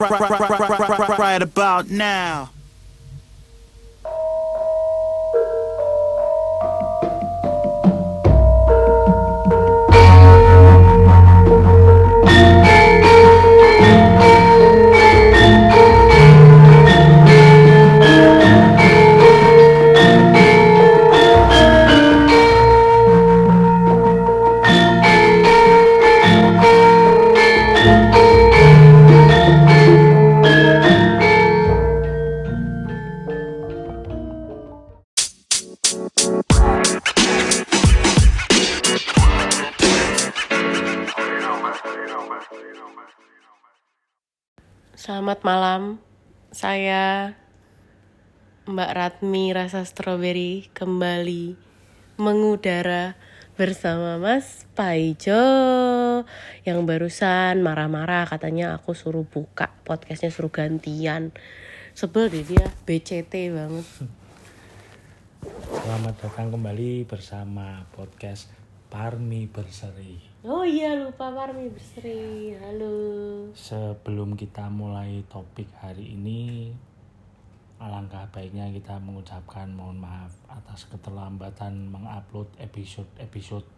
Right, right, right, right, right, right, right, right about now. Selamat malam, saya Mbak Ratmi Rasa Strawberry kembali mengudara bersama Mas Paijo yang barusan marah-marah katanya aku suruh buka podcastnya suruh gantian sebel deh dia BCT banget Selamat datang kembali bersama podcast Parmi Berseri. oh iya lupa Parmi Berseri halo Sebelum kita mulai topik hari ini, alangkah baiknya kita mengucapkan mohon maaf atas keterlambatan mengupload episode-episode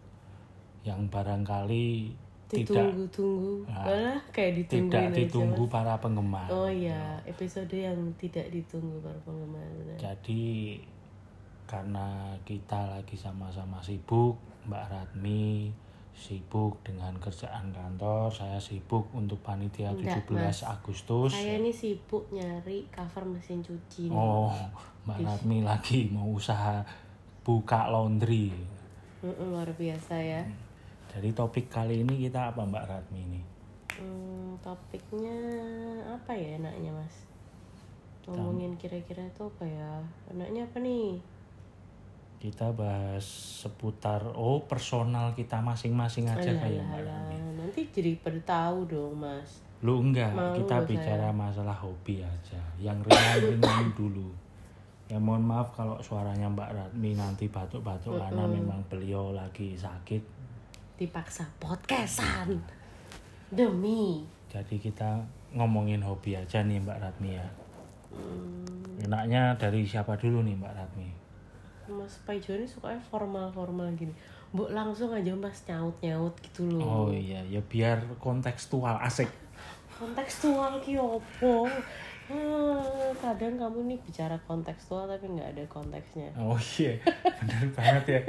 yang barangkali tidak ditunggu-tunggu Ah, malah kayak ditungguin tidak aja, ditunggu Mas. para penggemar. Oh iya, episode yang tidak ditunggu para penggemar. benar. Jadi karena kita lagi sama-sama sibuk, Mbak Ratmi sibuk dengan kerjaan kantor, saya sibuk untuk panitia Enggak, 17 Mas. Agustus. Saya ini sibuk nyari cover mesin cuci. nih. Oh, Mbak Ratmi lagi mau usaha buka laundry. Mm-mm, luar biasa ya. Jadi topik kali ini kita apa Mbak Ratmi ini? Hmm, topiknya apa ya enaknya mas? Ngomongin kira-kira itu apa ya? Enaknya apa nih? Kita bahas seputar oh personal kita masing-masing aja Alah, alah, kayak Mbak alah. Ratmi. Nanti jadi pada tahu dong mas. Lu enggak, Malu kita loh bicara masalah hobi aja. Yang ringan-ringan dulu. Ya mohon maaf kalau suaranya Mbak Ratmi nanti batuk-batuk karena memang beliau lagi sakit. Dipaksa podcastan demi. Jadi kita ngomongin hobi aja nih Mbak Ratmi ya. Hmm, Enaknya dari siapa dulu nih Mbak Ratmi? Mas Paijo ini sukanya formal-formal gini. Bu langsung aja mas nyaut-nyaut gitu loh. Oh iya, ya biar kontekstual asik. kontekstual ki opo Hmm, kadang kamu nih bicara kontekstual tapi nggak ada konteksnya Oh iya, bener banget ya.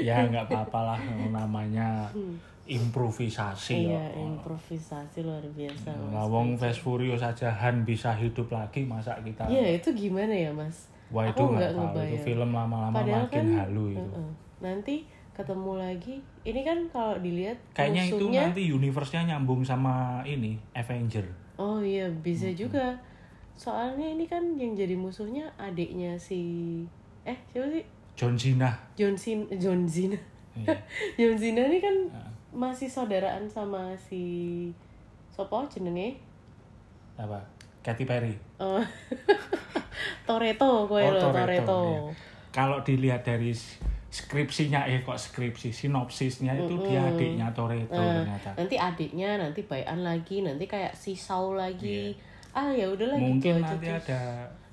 Ya nggak apa-apa lah namanya improvisasi iya ya. Hmm, improvisasi luar biasa mas Lawong Fast Furious aja Han bisa hidup lagi masa kita. ya itu gimana ya mas Wah itu aku nggak nggak tahu itu ngebayang film lama-lama Padahal makin kan- halu itu. Heeh. nanti ketemu lagi ini kan kalau dilihat Kayaknya itu musuhnya nanti universe-nya nyambung sama ini Avenger. oh iya bisa Hmm. juga soalnya ini kan yang jadi musuhnya adiknya si eh siapa sih John Cena. John Cena John Cena Iya. John Cena ini kan Ah. masih saudaraan sama si sopo jenenge Apa? Katy Perry. Eh, Toretto gue Oh, loh Toretto, Toretto. iya. Kalau dilihat dari s- skripsinya eh kok skripsi sinopsisnya itu dia adiknya Toretto Nah, ternyata. nanti adiknya nanti bayan lagi, nanti kayak si Saul lagi. Ah ya udah lagi Iya. Mungkin gitu aja nanti terus. ada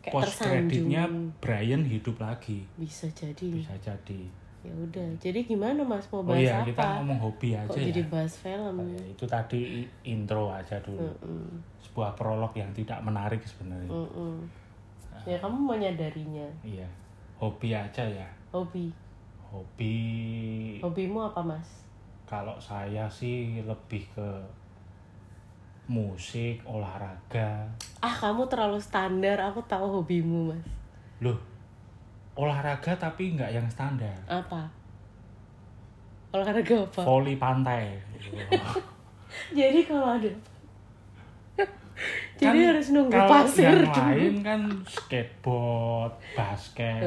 kayak post kreditnya tersanjung. Brian hidup lagi. bisa jadi. Bisa jadi. Ya udah. Jadi gimana Mas mau Oh bahas iya, kita apa? ngomong hobi Kok aja ya. jadi bahas film? Ya, itu tadi i- intro aja dulu Hmm. sebuah prolog yang tidak menarik sebenarnya Mm-mm. Ah. Ya kamu menyadarinya. iya hobi aja ya Hobi. hobi Hobimu apa Mas? kalau saya sih lebih ke musik olahraga Ah kamu terlalu standar. Aku tahu hobimu Mas. loh olahraga tapi nggak yang standar apa olahraga apa voli pantai jadi kalau ada jadi Kan harus nunggu kalau pasir yang lain kan skateboard basket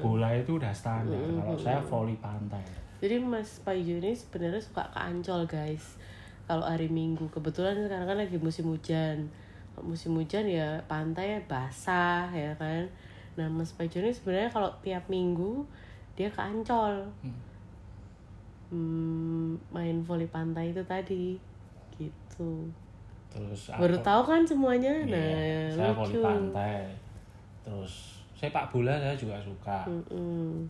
Hmm. bola itu udah standar kalau saya voli pantai jadi Mas Paijo ini sebenarnya suka ke Ancol guys kalau hari Minggu kebetulan sekarang kan lagi musim hujan Kalau musim hujan ya pantai basah ya kan nah Mas Paijo ini sebenarnya kalau tiap Minggu dia ke Ancol Hmm, main voli pantai itu tadi gitu terus baru aku- tahu kan semuanya Iya, nah saya voli lucu pantai terus sepak bola saya juga suka Hmm. Mm-mm.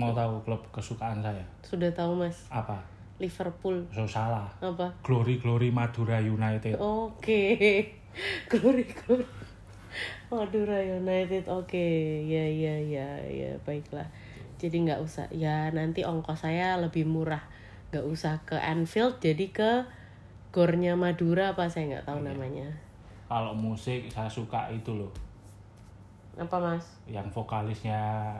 mau tahu klub kesukaan saya sudah tahu mas apa Liverpool so salah apa glory glory Madura United Oh. oke glory glory Madura United oke ya ya ya ya baiklah jadi nggak usah ya nanti ongkos saya lebih murah nggak usah ke Anfield jadi ke gornya Madura apa saya nggak tahu namanya kalau musik saya suka itu loh apa mas yang vokalisnya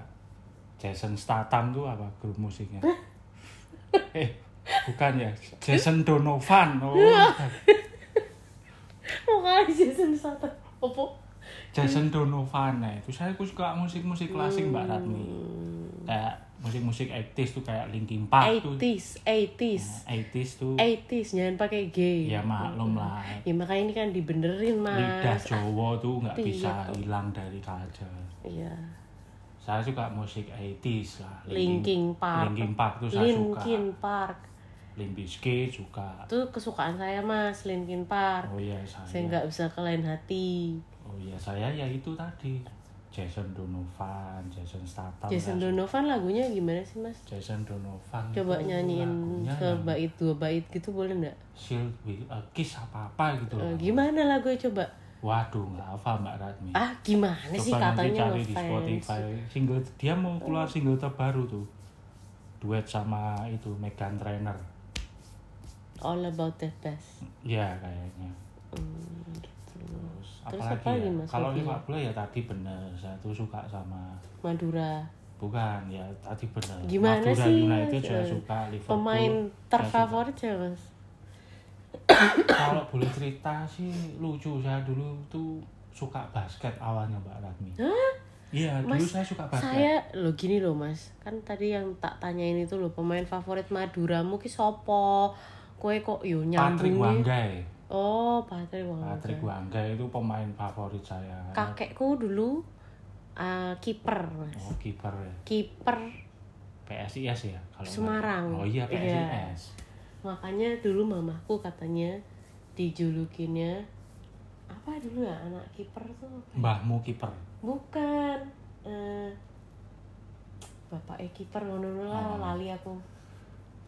Jason Statham tuh apa grup musiknya eh bukan ya Jason Donovan oh mau kali season satu opo Jason Donovan nah itu saya aku suka musik-musik klasik Hmm. Mbak Ratni kayak musik-musik 80s tuh kayak Linkin Park tuh 80s 80s 80s tuh 80s jangan pakai G ya maklum lah Ya, makanya ini kan dibenerin lidah mas Jawa tuh nggak Iya, bisa kok. hilang dari kaca Iya saya suka musik 80s lah Linkin Park Linkin Park tuh saya Linkin suka Park Limp Bizkit suka Itu kesukaan saya mas Linkin Park oh iya saya Saya nggak bisa ke lain hati oh iya saya ya itu tadi Jason Donovan Jason Statham Jason saya suka. Donovan lagunya gimana sih mas? Jason Donovan Coba itu nyanyiin lagunya yang sebait dua bait gitu boleh nggak? Shield with a Kiss apa-apa gitu Eh, loh. gimana lagunya coba? Waduh, nggak hafal Mbak Ratmi. Ah gimana sih Coba nanti katanya cari di ngefans. Spotify. Single dia mau keluar single terbaru tuh. Duet sama itu Megan Trainer. All about that best Ya kayaknya. Hmm, gitu. Terus, Terus apalagi apa lagi, ya? Mas, Kalau hobinya? sepak bola ya tadi bener. Saya tuh suka sama Madura bukan ya tadi bener. Gimana Madura sih, United Mas? saya Eh, suka Liverpool. Pemain saya suka. terfavorit siapa mas? Kalau boleh cerita sih lucu saya dulu tuh suka basket awalnya Mbak Ratmi. Iya, dulu Mas, saya suka basket. Saya lo gini loh mas, kan tadi yang tak tanyain itu loh pemain favorit Madura mungkin sopo, kue kok yo Patrick nyambungnya. Wanggai. Oh Patrick Wangga. Patrick Wanggai itu pemain favorit saya. Kakekku dulu eh, kiper mas, Oh, kiper ya. kiper PSIS ya kalau nggak- Semarang. Oh iya Iya. PSIS. makanya dulu mamaku katanya dijulukinnya apa dulu ya anak kiper tuh apa ya? Mbahmu kiper. bukan eh bapak kiper ngono lah Oh. lali aku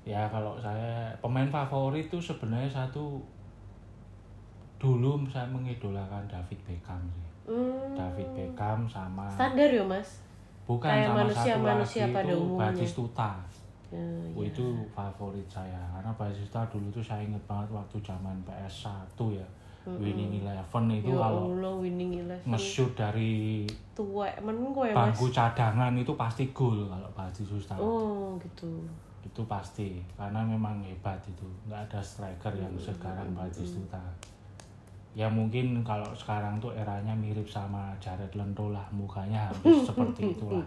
Ya kalau saya pemain favorit itu sebenarnya satu dulu saya mengidolakan David Beckham sih. Hmm. David Beckham sama standar ya mas bukan kayak sama satu manusia-manusia lagi pada itu umumnya. Batistuta. Eh, Oh, ya. itu favorit saya karena Batistuta dulu tuh saya inget banget waktu zaman PS1 ya. Winning Eleven itu Hmm. ya kalau Allah winning eleven nge-shoot dari tua men kok ya mas bangku cadangan itu pasti gol kalau Bati Sustan oh gitu itu pasti karena memang hebat itu nggak ada striker yang Hmm. sekarang Batistuta ya mungkin kalau sekarang tuh eranya mirip sama Jared Lento lah mukanya hampir seperti itulah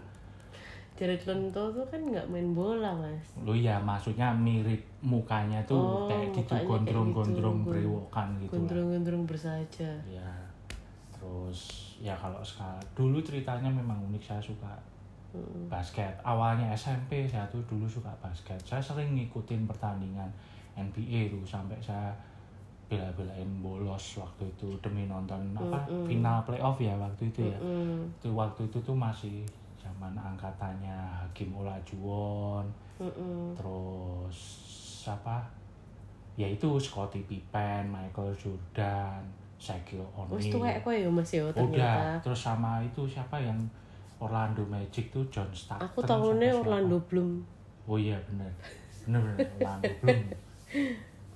Jared Leto tuh kan nggak main bola mas lu ya maksudnya mirip mukanya tuh Oh, kayak gitu mukanya kayak gondrong-gondrong gitu. brewokan gitu lah. gondrong-gondrong bersaja ya terus ya kalau sekarang dulu ceritanya memang unik saya suka Hmm. basket awalnya SMP saya tuh dulu suka basket saya sering ngikutin pertandingan NBA tuh sampai saya bela-belain bolos waktu itu demi nonton apa Hmm, final playoff ya waktu itu ya Mm, itu waktu itu tuh masih zaman angkatannya Hakim Olajuwon mm, mm. terus siapa ya itu Scottie Pippen Michael Jordan Shaquille Wes tuwek O'Neal kowe ya Mas ya udah ternyata. Oh, iya. terus sama itu siapa yang Orlando Magic tuh John Stockton Aku sama tahunnya siapa? Orlando Bloom. oh iya bener bener bener Orlando Bloom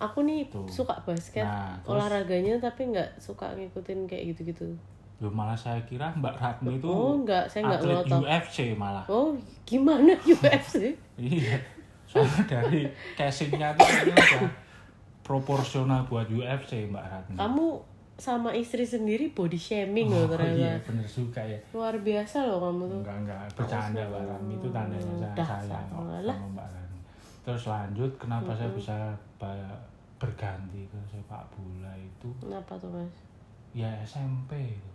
Aku nih Tuh. suka basket, Gitu. Nah, terus- olahraganya tapi nggak suka ngikutin kayak gitu-gitu. Loh, malah saya kira Mbak Ratmi itu Oh, nggak, saya nggak atlet ngotot. UFC malah Oh, gimana UFC? Iya. Soalnya dari casingnya tuh ini udah proporsional buat UFC Mbak Ratna. Kamu sama istri sendiri body shaming loh oh, iya ternyata. bener suka ya. Luar biasa loh kamu tuh. Enggak enggak bercanda Mbak Ratna itu tandanya saya Dah, sayang kok sama lah. sama Mbak Ratna. Terus lanjut kenapa saya bisa ba- berganti ke sepak bola itu Kenapa tuh, Mas? ya SMP itu.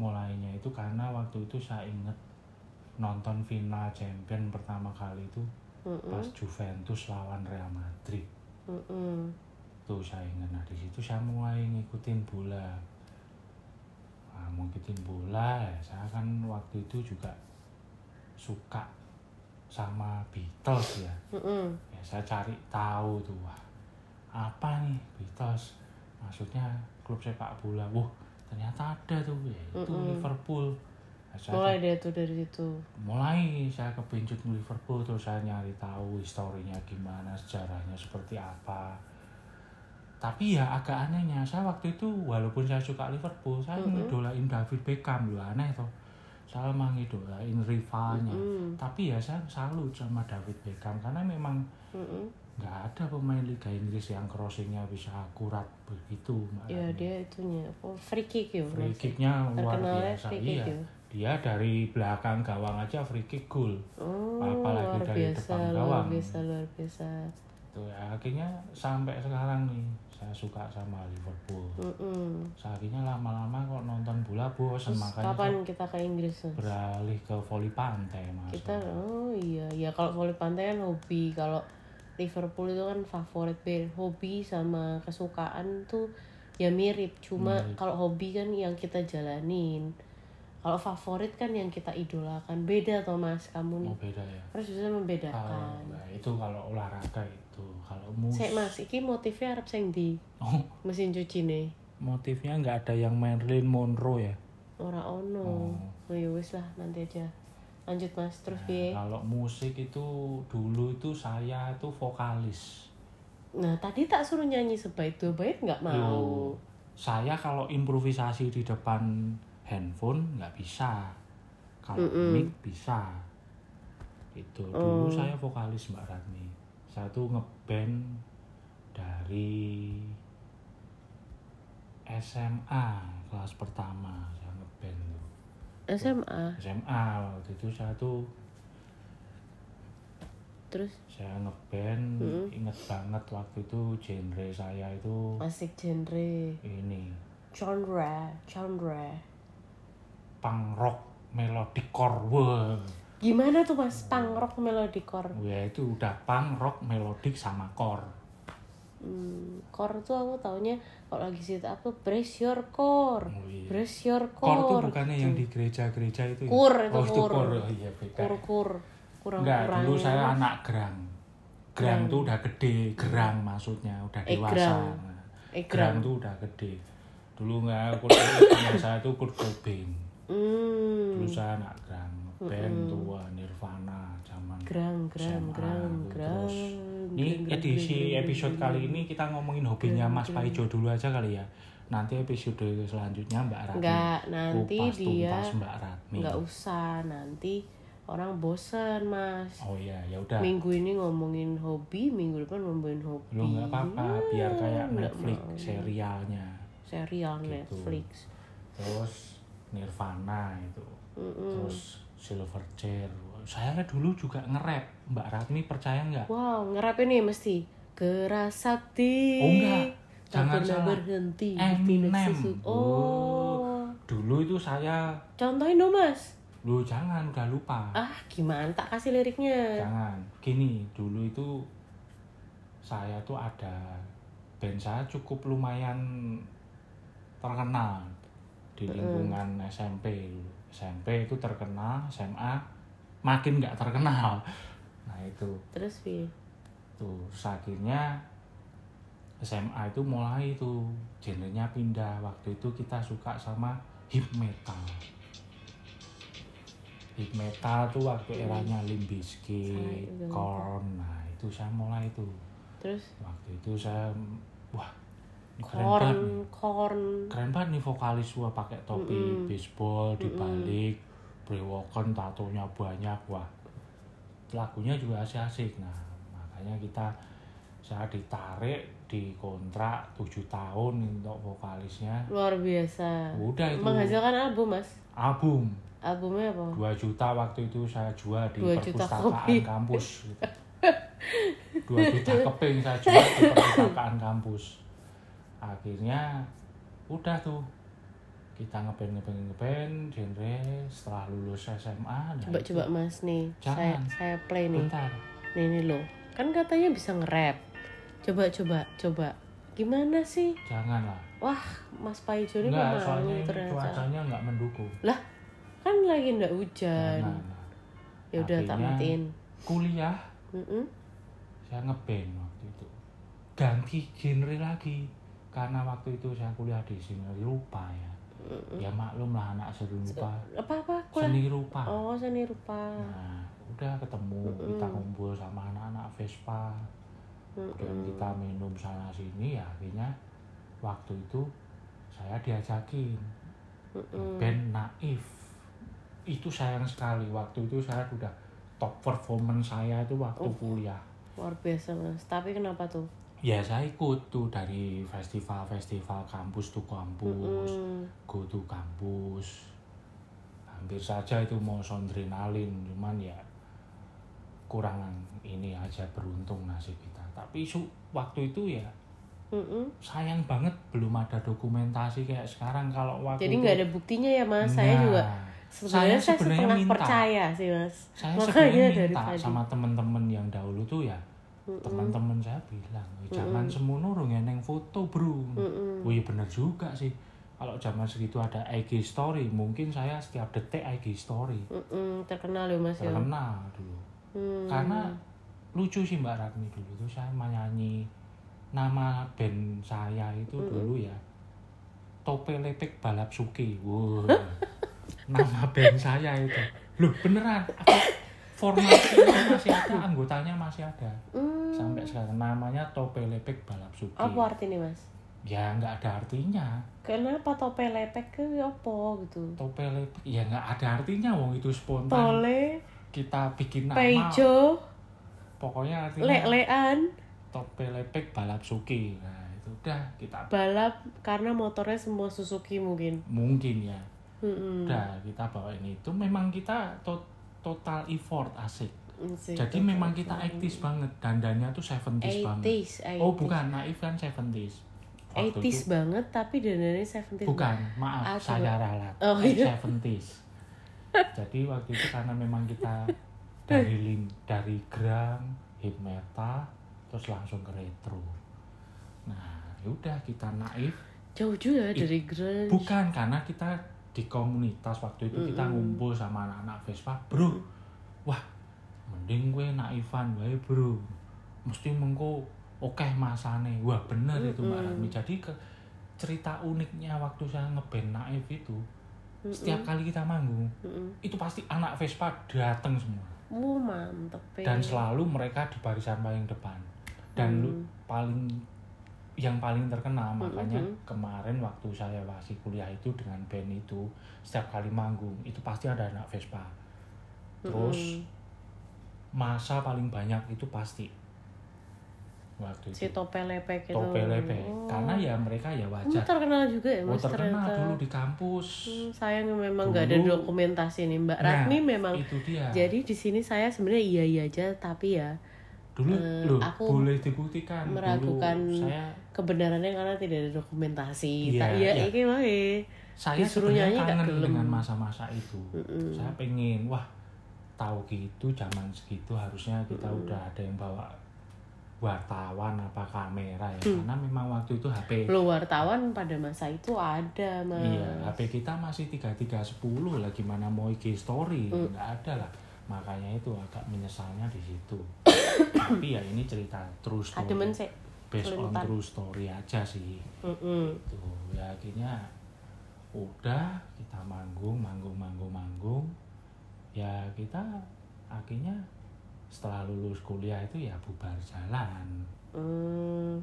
mulainya itu karena waktu itu saya inget nonton final champion pertama kali itu Mm-mm, pas Juventus lawan Real Madrid mm-mm. itu saya ingat nah di situ saya mulai ngikutin bola nah, ngikutin bola ya, saya kan waktu itu juga suka sama Beatles ya Mm-mm. ya saya cari tahu tuh wah, apa nih Beatles maksudnya klub sepak bola wah ternyata ada tuh ya itu Mm-mm. Liverpool Nah, saya mulai deh tuh dari situ mulai saya kepincut di Liverpool terus saya nyari tahu historinya gimana sejarahnya seperti apa tapi ya agak anehnya saya waktu itu walaupun saya suka Liverpool saya Mm-mm. ngidolain David Beckham loh aneh toh saya emang ngidolain rivalnya Mm-mm. tapi ya saya salut sama David Beckham karena memang Mm-mm. nggak ada pemain Liga Inggris yang crossingnya bisa akurat begitu Mbak ya Rani. dia itunya oh, free kick ya free Mas? kicknya luar terkenalnya biasa free kick iya ya dia dari belakang gawang aja free kick gol oh Apalagi luar dari biasa depan luar gawang. biasa luar biasa Tuh, ya, akhirnya sampai sekarang nih saya suka sama Liverpool. Mm-mm. Saya akhirnya lama-lama kok nonton bola bosen Terus makanya kapan saya kita ke Inggris Mas? beralih ke voli pantai mas. kita oh iya ya kalau voli pantai kan hobi kalau Liverpool itu kan favorit Ben hobi sama kesukaan tuh ya mirip cuma Mirip. kalau hobi kan yang kita jalanin kalau favorit kan yang kita idolakan beda toh mas kamu Mau nih beda ya. harus bisa Kalau membedakan nah, itu kalau olahraga itu kalau mus Sek mas, iki motifnya Arab sing di Oh, mesin cuci nih motifnya nggak ada yang Marilyn Monroe ya. ora ono. Oh ya wis lah nanti aja. Lanjut mas, terus Nah, piye? kalau musik itu dulu itu saya itu vokalis. Nah tadi tak suruh nyanyi sebaik dua bait nggak mau. Loh, Saya kalau improvisasi di depan handphone nggak bisa. Kalau Mm-mm. mic bisa. Itu Oh. dulu saya vokalis Mbak Ratni. Saya tuh ngeband dari SMA kelas pertama saya ngeband tuh. Iya. SMA, SMA waktu itu saya tuh terus saya ngeband Mm-mm. inget banget waktu itu genre saya itu asik genre, ini genre, genre. punk rock melodicore wah Gimana tuh mas? Punk rock melodicore. ya itu udah punk rock melodik sama core Hmm, core tuh aku taunya kalau lagi sit up tuh brace your core, Oh, iya. brace your core core. tuh bukannya yang di gitu. gereja-gereja itu ya? Kur, itu oh, itu kur. core oh, iya beda kur-kur kurang enggak kurangnya. dulu saya anak gerang gerang Gerang. tuh udah gede gerang maksudnya udah Eh, dewasa gerang. Nah, Eh, gerang gram. tuh udah gede dulu nggak Kurt Cobain, saya tuh Kurt Cobain Hmm. dulu saya anak gerang band tua Nirvana zaman Gram, gram, SMA, gram, gitu. gram. Terus, Ini edisi episode kali ini kita ngomongin hobinya Mas Paijo dulu aja kali ya. Nanti episode selanjutnya Mbak Ratmi. Enggak, nanti Kupas dia tuntas Mbak Ratmi. enggak usah nanti orang bosen mas. Oh iya, ya udah. Minggu ini ngomongin hobi, minggu depan ngomongin hobi. Lu nggak apa-apa, biar kayak Hmm, nggak Netflix mau. serialnya. serial Gitu. Netflix. Terus Nirvana itu. Mm-mm. Terus Silverchair. Saya dulu juga nge-rap. Mbak Ratmi percaya nggak? Wow, ngerap ini mesti gerak sakti. Oh, enggak. Tak Jangan pernah salah. berhenti. Eminem. Tidak sesu- Oh, Dulu itu saya contohin dong mas. lu jangan udah lupa. Ah, gimana? Tak kasih liriknya. Jangan. Gini, dulu itu saya tuh ada band saya cukup lumayan terkenal di lingkungan SMP dulu. SMP itu terkenal, SMA makin nggak terkenal. Nah itu Terus Vi. tuh Gitu. terus akhirnya SMA itu mulai itu genrenya pindah waktu itu kita suka sama hip metal hip metal tuh waktu eranya Limp Bizkit, Saya juga Korn nah itu saya mulai itu Terus waktu itu saya wah ini keren banget nih. corn, corn. keren banget nih vokalis gua pakai topi Mm-mm. baseball dibalik brewoken tatonya banyak wah lagunya juga asik-asik nah makanya kita saya ditarik di kontrak 7 tahun untuk vokalisnya Luar biasa. udah itu Menghasilkan album, Mas. album Albumnya apa? 2 juta waktu itu saya jual di 2 juta perpustakaan kopi. kampus gitu. 2 juta keping saya jual di perpustakaan kampus akhirnya udah tuh kita ngeband ngeband ngeband genre setelah lulus SMA nah Coba itu- coba Mas nih. Saya Jangan. saya play nih. bentar Nih nih lo. Kan katanya bisa nge-rap. Coba coba coba Gimana sih? Janganlah. Wah, Mas Pai Joni Enggak, malu soalnya ini ternyata. cuacanya nggak mendukung. Lah, kan lagi ndak hujan. Nah, nah, ya udah tak Artinya- matiin. Kuliah Mm-mm. saya ngeband waktu itu. Ganti genre lagi karena waktu itu saya kuliah di sini rupa ya. Ya maklum lah anak seni rupa. Apa-apa? Kuliah. Seni rupa. Oh, seni rupa. Nah, udah ketemu kita kumpul sama anak-anak Vespa. Dan kita minum sana sini ya akhirnya waktu itu saya diajakin band Naif. Itu sayang sekali waktu itu saya sudah top performance saya itu waktu Oh. kuliah. Luar biasa, Mas. Tapi kenapa tuh? Ya saya ikut tuh dari festival-festival kampus tuh kampus, Mm. go to kampus. Hampir saja itu mau sondrenalin, cuman ya kurang ini aja beruntung nasib kita. Tapi su waktu itu ya Mm-mm. sayang banget belum ada dokumentasi kayak sekarang kalau waktu Jadi itu- nggak ada buktinya ya, Mas. Saya Nah, juga sebenarnya saya saya, sebenarnya setengah minta. percaya sih, Mas. saya Makanya sebenarnya dari minta tadi. sama temen-temen yang dahulu tuh ya teman-teman saya bilang "Eh, jangan semono rong eneng foto bro Mm-mm. oh iya bener juga sih kalau zaman segitu ada IG story mungkin saya setiap detik IG story Mm-mm, terkenal ya, Mas ya. terkenal dulu Hmm. karena lucu sih Mbak Ratmi dulu tuh saya menyanyi nama band saya itu Hmm. dulu ya Tope Lepek Balap Suki wow. nama band saya itu loh beneran aku formasinya masih ada anggotanya masih ada Hmm. sampai sekarang namanya Tope Lepek Balap Suki Apa artinya, Mas? ya nggak ada artinya Kenapa tope lepek ke apa gitu? Tope Lepek ya nggak ada artinya wong itu spontan Tole, kita bikin nama peijo, pokoknya artinya lek-lekan, Tope Lepek Balap Suki. Nah, itu udah kita Hmm. balap karena motornya semua Suzuki mungkin. mungkin ya. Mm-mm. Udah kita bawain itu memang kita to- total effort asik. Mm, sih. Jadi memang kita 80s banget dandannya tuh 70s banget. 80s, 80s. Oh, bukan naif kan 70s. Waktu 80s itu- banget tapi dandannya 70s. bukan, Ah, maaf coba. saya ralat. Oh, iya. 70s. Jadi waktu itu karena memang kita dari lin, dari gram, hip metal terus langsung ke retro. Nah, yaudah kita naif Jauh juga ya Ih, dari grunge. Bukan karena kita di komunitas waktu itu kita ngumpul sama anak-anak Vespa, bro. Wah, mending gue naifan wae, bro. Mesti mengko oke masane. Wah, bener itu Mbak Ratmi. Jadi ke cerita uniknya waktu saya ngeband naif itu setiap kali kita manggung Mm-mm. itu pasti anak Vespa datang semua Wah, mantep. ya. dan selalu mereka di barisan paling depan dan lu- Hmm. paling yang paling terkenal makanya hmm. kemarin waktu saya masih kuliah itu dengan band itu setiap kali manggung itu pasti ada anak Vespa terus Hmm. masa paling banyak itu pasti waktu si itu tope lepek itu. Oh. tope lepe karena ya mereka ya Kamu wajar terkenal juga ya oh, mas terkenal ternyata. dulu di kampus Hmm, sayang memang nggak ada Dulu- dokumentasi nih mbak Nah, iya. Ratmi memang. itu dia Hmm. Jadi di sini saya sebenarnya iya iya aja tapi ya dulu eh, loh, aku boleh dibuktikan Dulu meragukan saya kebenarannya karena tidak ada dokumentasi. Iya, tak ya, iya. iki wae. saya Disuruh nyanyi sebenarnya nggak kangen gelem. dengan masa-masa itu saya pengen wah tahu gitu zaman segitu harusnya kita udah ada yang bawa wartawan apa kamera ya Mm. karena memang waktu itu HP Lo wartawan pada masa itu ada mas. iya HP kita masih 3310 lah gimana mau IG story Mm. nggak ada lah makanya itu agak menyesalnya di situ tapi ya ini cerita true story Ada men sih. based on Kelintan. true story aja sih Mm-mm. tuh ya akhirnya udah kita manggung manggung manggung manggung ya kita akhirnya setelah lulus kuliah itu ya bubar jalan Hmm.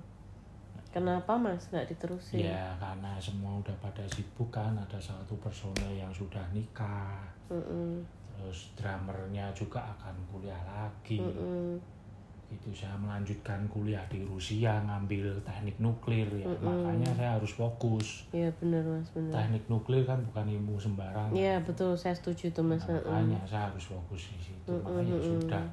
Kenapa mas nggak diterusin? ya karena semua udah pada sibuk kan ada satu personel yang sudah nikah Mm-mm. terus drummernya juga akan kuliah lagi Mm-mm. itu saya melanjutkan kuliah di Rusia ngambil teknik nuklir ya makanya saya harus fokus Iya benar mas benar. teknik nuklir kan bukan ilmu sembarangan Iya betul saya setuju tuh mas. Nah, makanya saya harus fokus di situ makanya ya sudah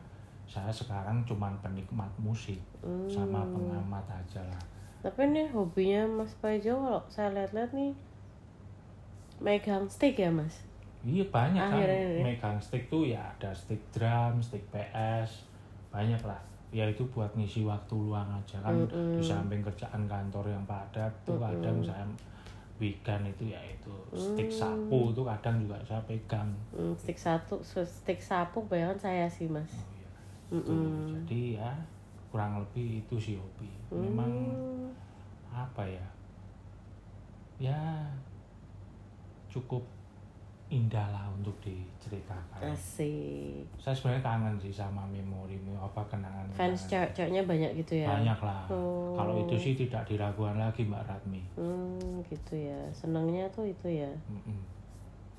saya sekarang cuman penikmat musik Hmm. sama pengamat aja lah Tapi nih hobinya Mas Paijo kalau saya lihat-lihat nih megang stick ya Mas. iya banyak kan Akhirnya ya. megang stick tuh ya ada stick drum stick PS banyak lah ya itu buat ngisi waktu luang aja kan Hmm. di samping kerjaan kantor yang padat tuh kadang saya weekend itu ya itu stick sapu itu kadang juga saya pegang Hmm, stick satu, stick sapu bayangan saya sih mas. Oh, iya. Itu. Hmm. jadi ya kurang lebih itu sih hobi memang Hmm. apa ya ya cukup indah lah untuk diceritakan Mm, Asik. saya sebenarnya kangen sih sama memori apa kenangan Fans cewek-ceweknya banyak gitu ya. banyak lah Oh. kalau itu sih tidak diragukan lagi mbak Ratmi Hmm, gitu ya. Senangnya tuh itu ya. Mm-mm.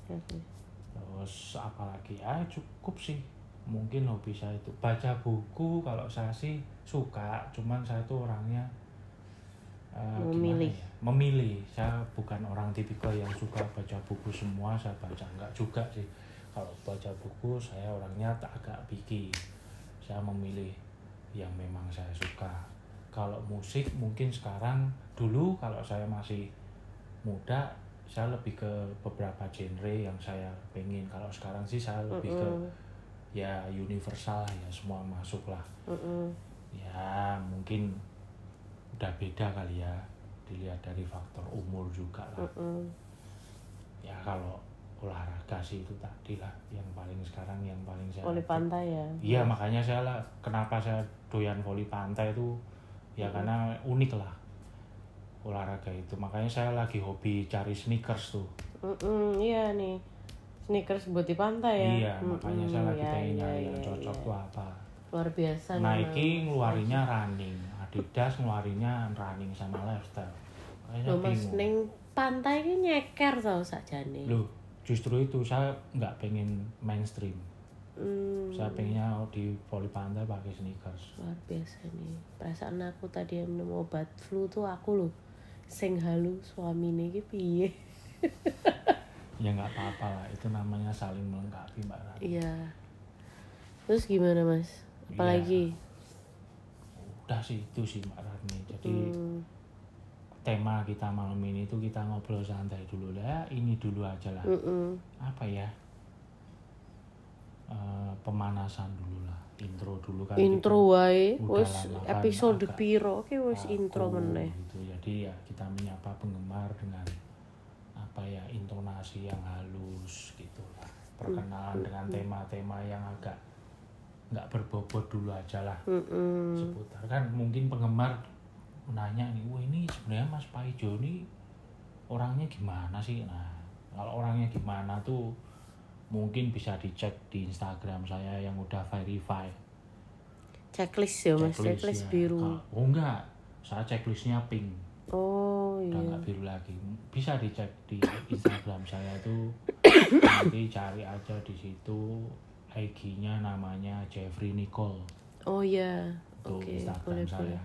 Ya, sih. terus apalagi ya cukup sih mungkin hobi saya itu baca buku kalau saya sih suka cuman saya tuh orangnya eh, gimana Memilih. ya? memilih saya bukan orang tipikal yang suka baca buku semua saya baca enggak juga sih kalau baca buku saya orangnya tak agak picky saya memilih yang memang saya suka kalau musik mungkin sekarang dulu kalau saya masih muda saya lebih ke beberapa genre yang saya pengen kalau sekarang sih saya lebih Mm-mm. ke ya universal lah ya semua masuk lah Mm-mm. ya mungkin udah beda kali ya dilihat dari faktor umur juga lah Mm-mm. ya kalau olahraga sih itu tadi lah yang paling sekarang yang paling saya Voli pantai ya. Iya makanya saya lah kenapa saya doyan voli pantai itu ya karena unik lah olahraga itu makanya saya lagi hobi cari sneakers tuh Mm-mm, iya nih. Sneakers buat di pantai ya. iya makanya saya Mm-mm, lagi iya, pengen iya, nyari yang iya, cocok iya. tuh apa Luar biasa Nike memang. ngeluarinnya running Adidas ngeluarinnya running sama lifestyle makanya Loh, mas bingung neng pantai ini nyeker tau saja nih. Loh, justru itu saya nggak pengen mainstream Hmm, saya pengennya di voli pantai pakai sneakers luar biasa nih. Perasaan aku tadi yang minum obat flu tuh aku loh. Sing halu suamine iki piye? ya nggak apa-apa lah itu namanya saling melengkapi mbak Rani Iya. Terus gimana mas? Apalagi? Iya. udah sih itu sih Mbak Ratni jadi Hmm, tema kita malam ini itu kita ngobrol santai dulu lah ini dulu aja lah mm-mm. apa ya Eh, pemanasan dulu lah intro dulu kan Intro wae, Udah wis lama kan episode agak piro ki kita wis intro akur meneh. gitu jadi ya kita menyapa penggemar dengan apa ya intonasi yang halus gitu lah Hmm. perkenalan dengan tema-tema yang agak nggak berbobot dulu aja lah Mm-mm. seputar kan mungkin penggemar nanya nih wah ini sebenarnya Mas Paijo ini orangnya gimana sih nah kalau orangnya gimana tuh mungkin bisa dicek di Instagram saya yang udah verify Checklist ya mas, checklist, ya. biru. Kalau- oh enggak saya checklistnya pink Oh udah iya. nggak biru lagi bisa dicek di Instagram saya tuh nanti cari aja di situ IG-nya namanya Jeffrey Nicole Oh iya. tuh ya. Oke, Instagram boleh saya. boleh.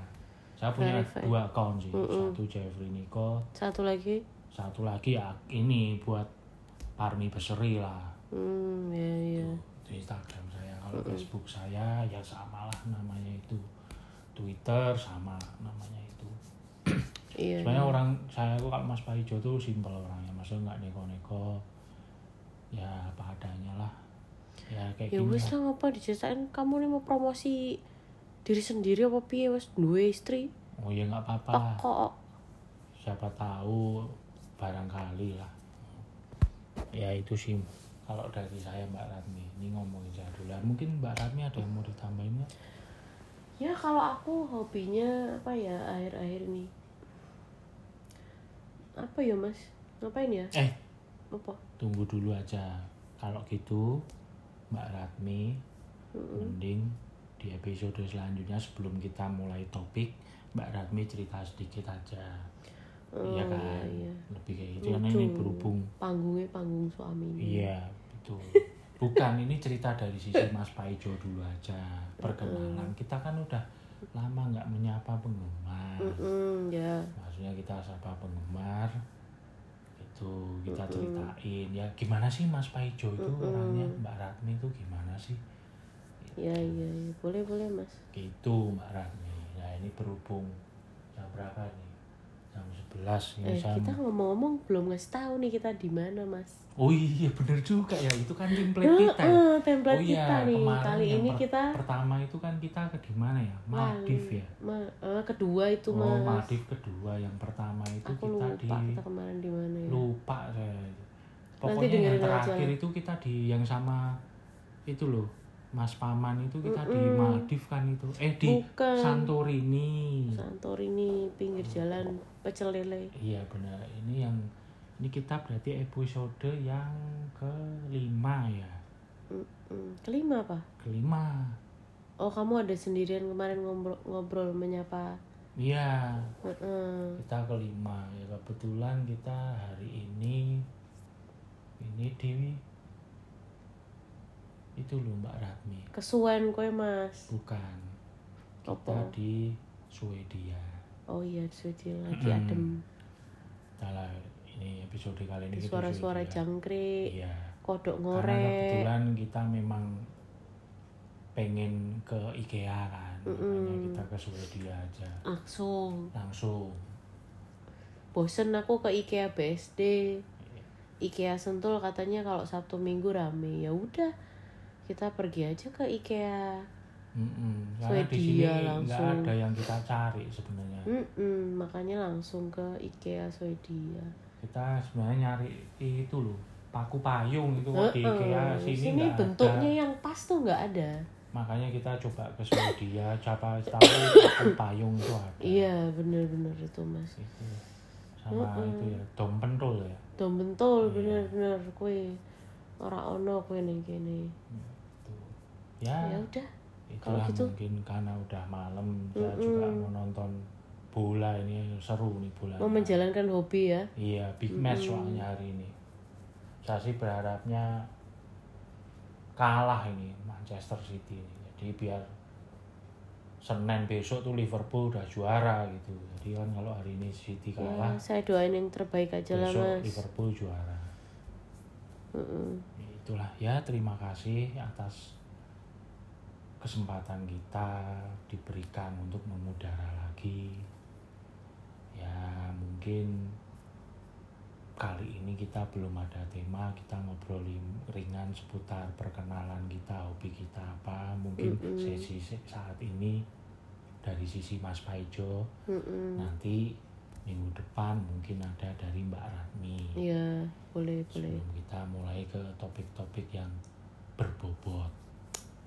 Saya punya Verified. dua account sih, satu Jeffrey Nicole, Satu lagi? satu lagi ya ini buat Parmi Beseri lah Hmm, iya iya. di Instagram saya. Kalau Facebook saya ya samalah namanya itu, Twitter sama namanya itu. Iya. Sebenarnya orang saya kok kalau Mas Paijo tuh simpel orangnya, maksudnya nggak neko-neko, ya apa adanya lah. Ya kayak ya gini wis lah. lah apa diceritain kamu nih mau promosi diri sendiri apa piye wis duwe istri Oh ya nggak apa-apa lah. toko siapa tahu barangkali lah ya itu sih kalau dari saya Mbak Ratmi ini ngomongin saya dulu lah. mungkin Mbak Ratmi ada yang mau ditambahin nggak? ya kalau aku hobinya apa ya akhir-akhir ini apa ya mas ngapain ya eh apa tunggu dulu aja kalau gitu Mbak Ratmi mending di episode selanjutnya sebelum kita mulai topik Mbak Ratmi cerita sedikit aja Iya kan iya, iya. lebih kayak gitu karena ini Lucu. berhubung panggungnya panggung suami Iya, betul. Bukan, ini cerita dari sisi Mas Paijo dulu aja. Perkenalan, kita kan udah lama nggak menyapa penggemar. Mm, ya Maksudnya kita sapa penggemar, itu kita ceritain ya gimana sih Mas Paijo itu orangnya Mbak Ratmi itu gimana sih? ya ya, ya. boleh boleh mas Gitu Mbak Ratmi. Nah ini berhubung jam berapa nih? jam 11 ya, Eh, jam- kita ngomong-ngomong belum ngasih tahu nih kita di mana mas. Oh iya bener juga ya itu kan template Heeh, kita. ya. template oh kita nih. kemarin Kali yang ini per- kita pertama itu kan kita ke di mana ya? Maldives Bali. ya. Ma- eh, kedua itu oh, mas. Maldives kedua yang pertama itu Aku kita lupa di kita kemarin di mana ya. lupa saya. itu. Pokoknya yang dengerin aja terakhir lah. itu kita di yang sama itu loh. Mas Paman itu kita di Mm-mm. Maldives kan itu. Eh di Bukan. Santorini. Santorini pinggir jalan pecel lele. Iya benar. Ini yang ini kita berarti episode yang kelima ya. Mm, kelima apa? Kelima. Oh kamu ada sendirian kemarin ngobrol, ngobrol menyapa. Iya, Heeh. kita kelima. Ya kebetulan kita hari ini ini Dewi itu loh Mbak Ratmi. Kesuwen kowe mas. Bukan. Kita Apa? di Swedia. Oh iya Suci lagi Mm-mm. adem. Kita lah, ini episode kali ini Di kita Suara-suara Swedia. jangkrik, Iya. kodok Karena ngorek. kebetulan kita memang pengen ke IKEA kan. Makanya Mm-mm. kita ke Swedia aja langsung langsung. bosen aku ke IKEA BSD Iya. IKEA Sentul katanya kalau Sabtu Minggu rame ya udah kita pergi aja ke IKEA Mm-mm. Karena di sini Swedia nggak langsung. ada yang kita cari sebenarnya. Mm-mm, makanya langsung ke IKEA Swedia Kita sebenarnya nyari itu loh, paku payung itu kok di Heeh, IKEA sini, sini nggak bentuknya ada. yang pas tuh nggak ada Makanya kita coba ke Swedia, coba tahu paku payung itu ada. iya bener-bener itu mas Itu. Sama itu ya, dom pentul ya. dom bentul bener-bener kue ora ono kue ning kene Itu. Ya, ya udah itulah kalau gitu- mungkin karena udah malam kita juga mau nonton bola ini seru nih bola. mau menjalankan hobi ya Iya, big match soalnya hari ini. Saya sih berharapnya kalah ini Manchester City ini. Jadi biar Senin besok tuh Liverpool udah juara gitu. Jadi kan kalau hari ini City ya kalah, saya doain yang terbaik aja lah besok mas Liverpool juara. Mm-mm. Itulah ya, terima kasih atas kesempatan kita diberikan untuk memudara lagi. Ya, mungkin kali ini kita belum ada tema, kita ngobrol lim- ringan seputar perkenalan kita, hobi kita apa. Mungkin Mm-mm. sesi se- saat ini dari sisi Mas Paijo, Mm-mm. Nah. nanti minggu depan mungkin ada dari Mbak Ratmi Iya, boleh, boleh. sebelum kita mulai ke topik-topik yang berbobot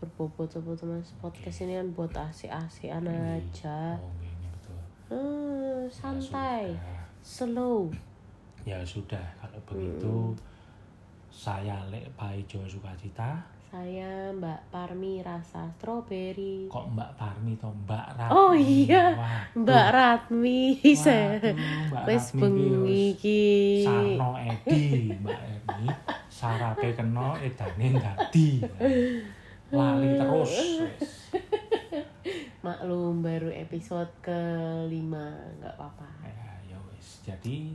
Berbobot-bobot mas podcast ini kan buat asik-asikan Iya, aja. ngomongnya betul Eh, Ya santai, sudah. slow. ya sudah kalau Hmm. begitu saya Lek Paijo Sukacita Saya Mbak Parmi rasa strawberry. kok Mbak Parmi atau Mbak Ratmi Oh, iya. Waduh. Mbak Ratmi, saya Waduh, Mbak wes Ratmi bengi ki iki. wis Sarno Edi Mbak Edi sarape kena edane dadi lali terus wis. Maklum baru episode kelima, nggak apa-apa. ya ya wis jadi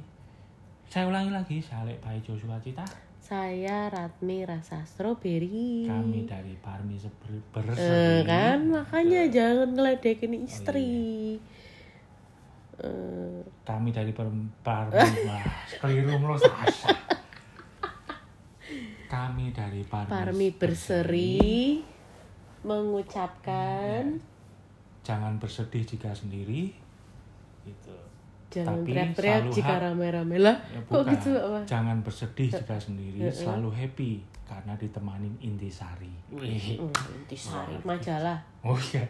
saya ulangi lagi saya Lek Paijo Sukacita Saya Ratmi rasa strawberry. kami dari Parmi Seber- Hmm. Eh, berseri kan makanya jangan ngeledekin iya. istri. Eh, kami dari Par- Parmi Wah, keliru mulu, Sasha. kami dari Parmi, Parmi berseri mengucapkan Iya. jangan bersedih jika sendiri gitu jangan Tapi teriak-teriak selalu jika hap- rame-rame lah. ya Kok bukan gitu apa? Eh, jangan bersedih jika sendiri selalu happy karena ditemanin intisari Wih. Oh, Intisari majalah. oh iya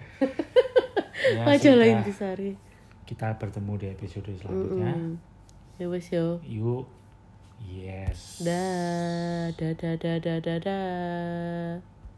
Ya, majalah sudah. Intisari. kita bertemu di episode selanjutnya Hmm. Ya wis yo. yuk yes Dah, dah, dah, dah, dah, dah. dah.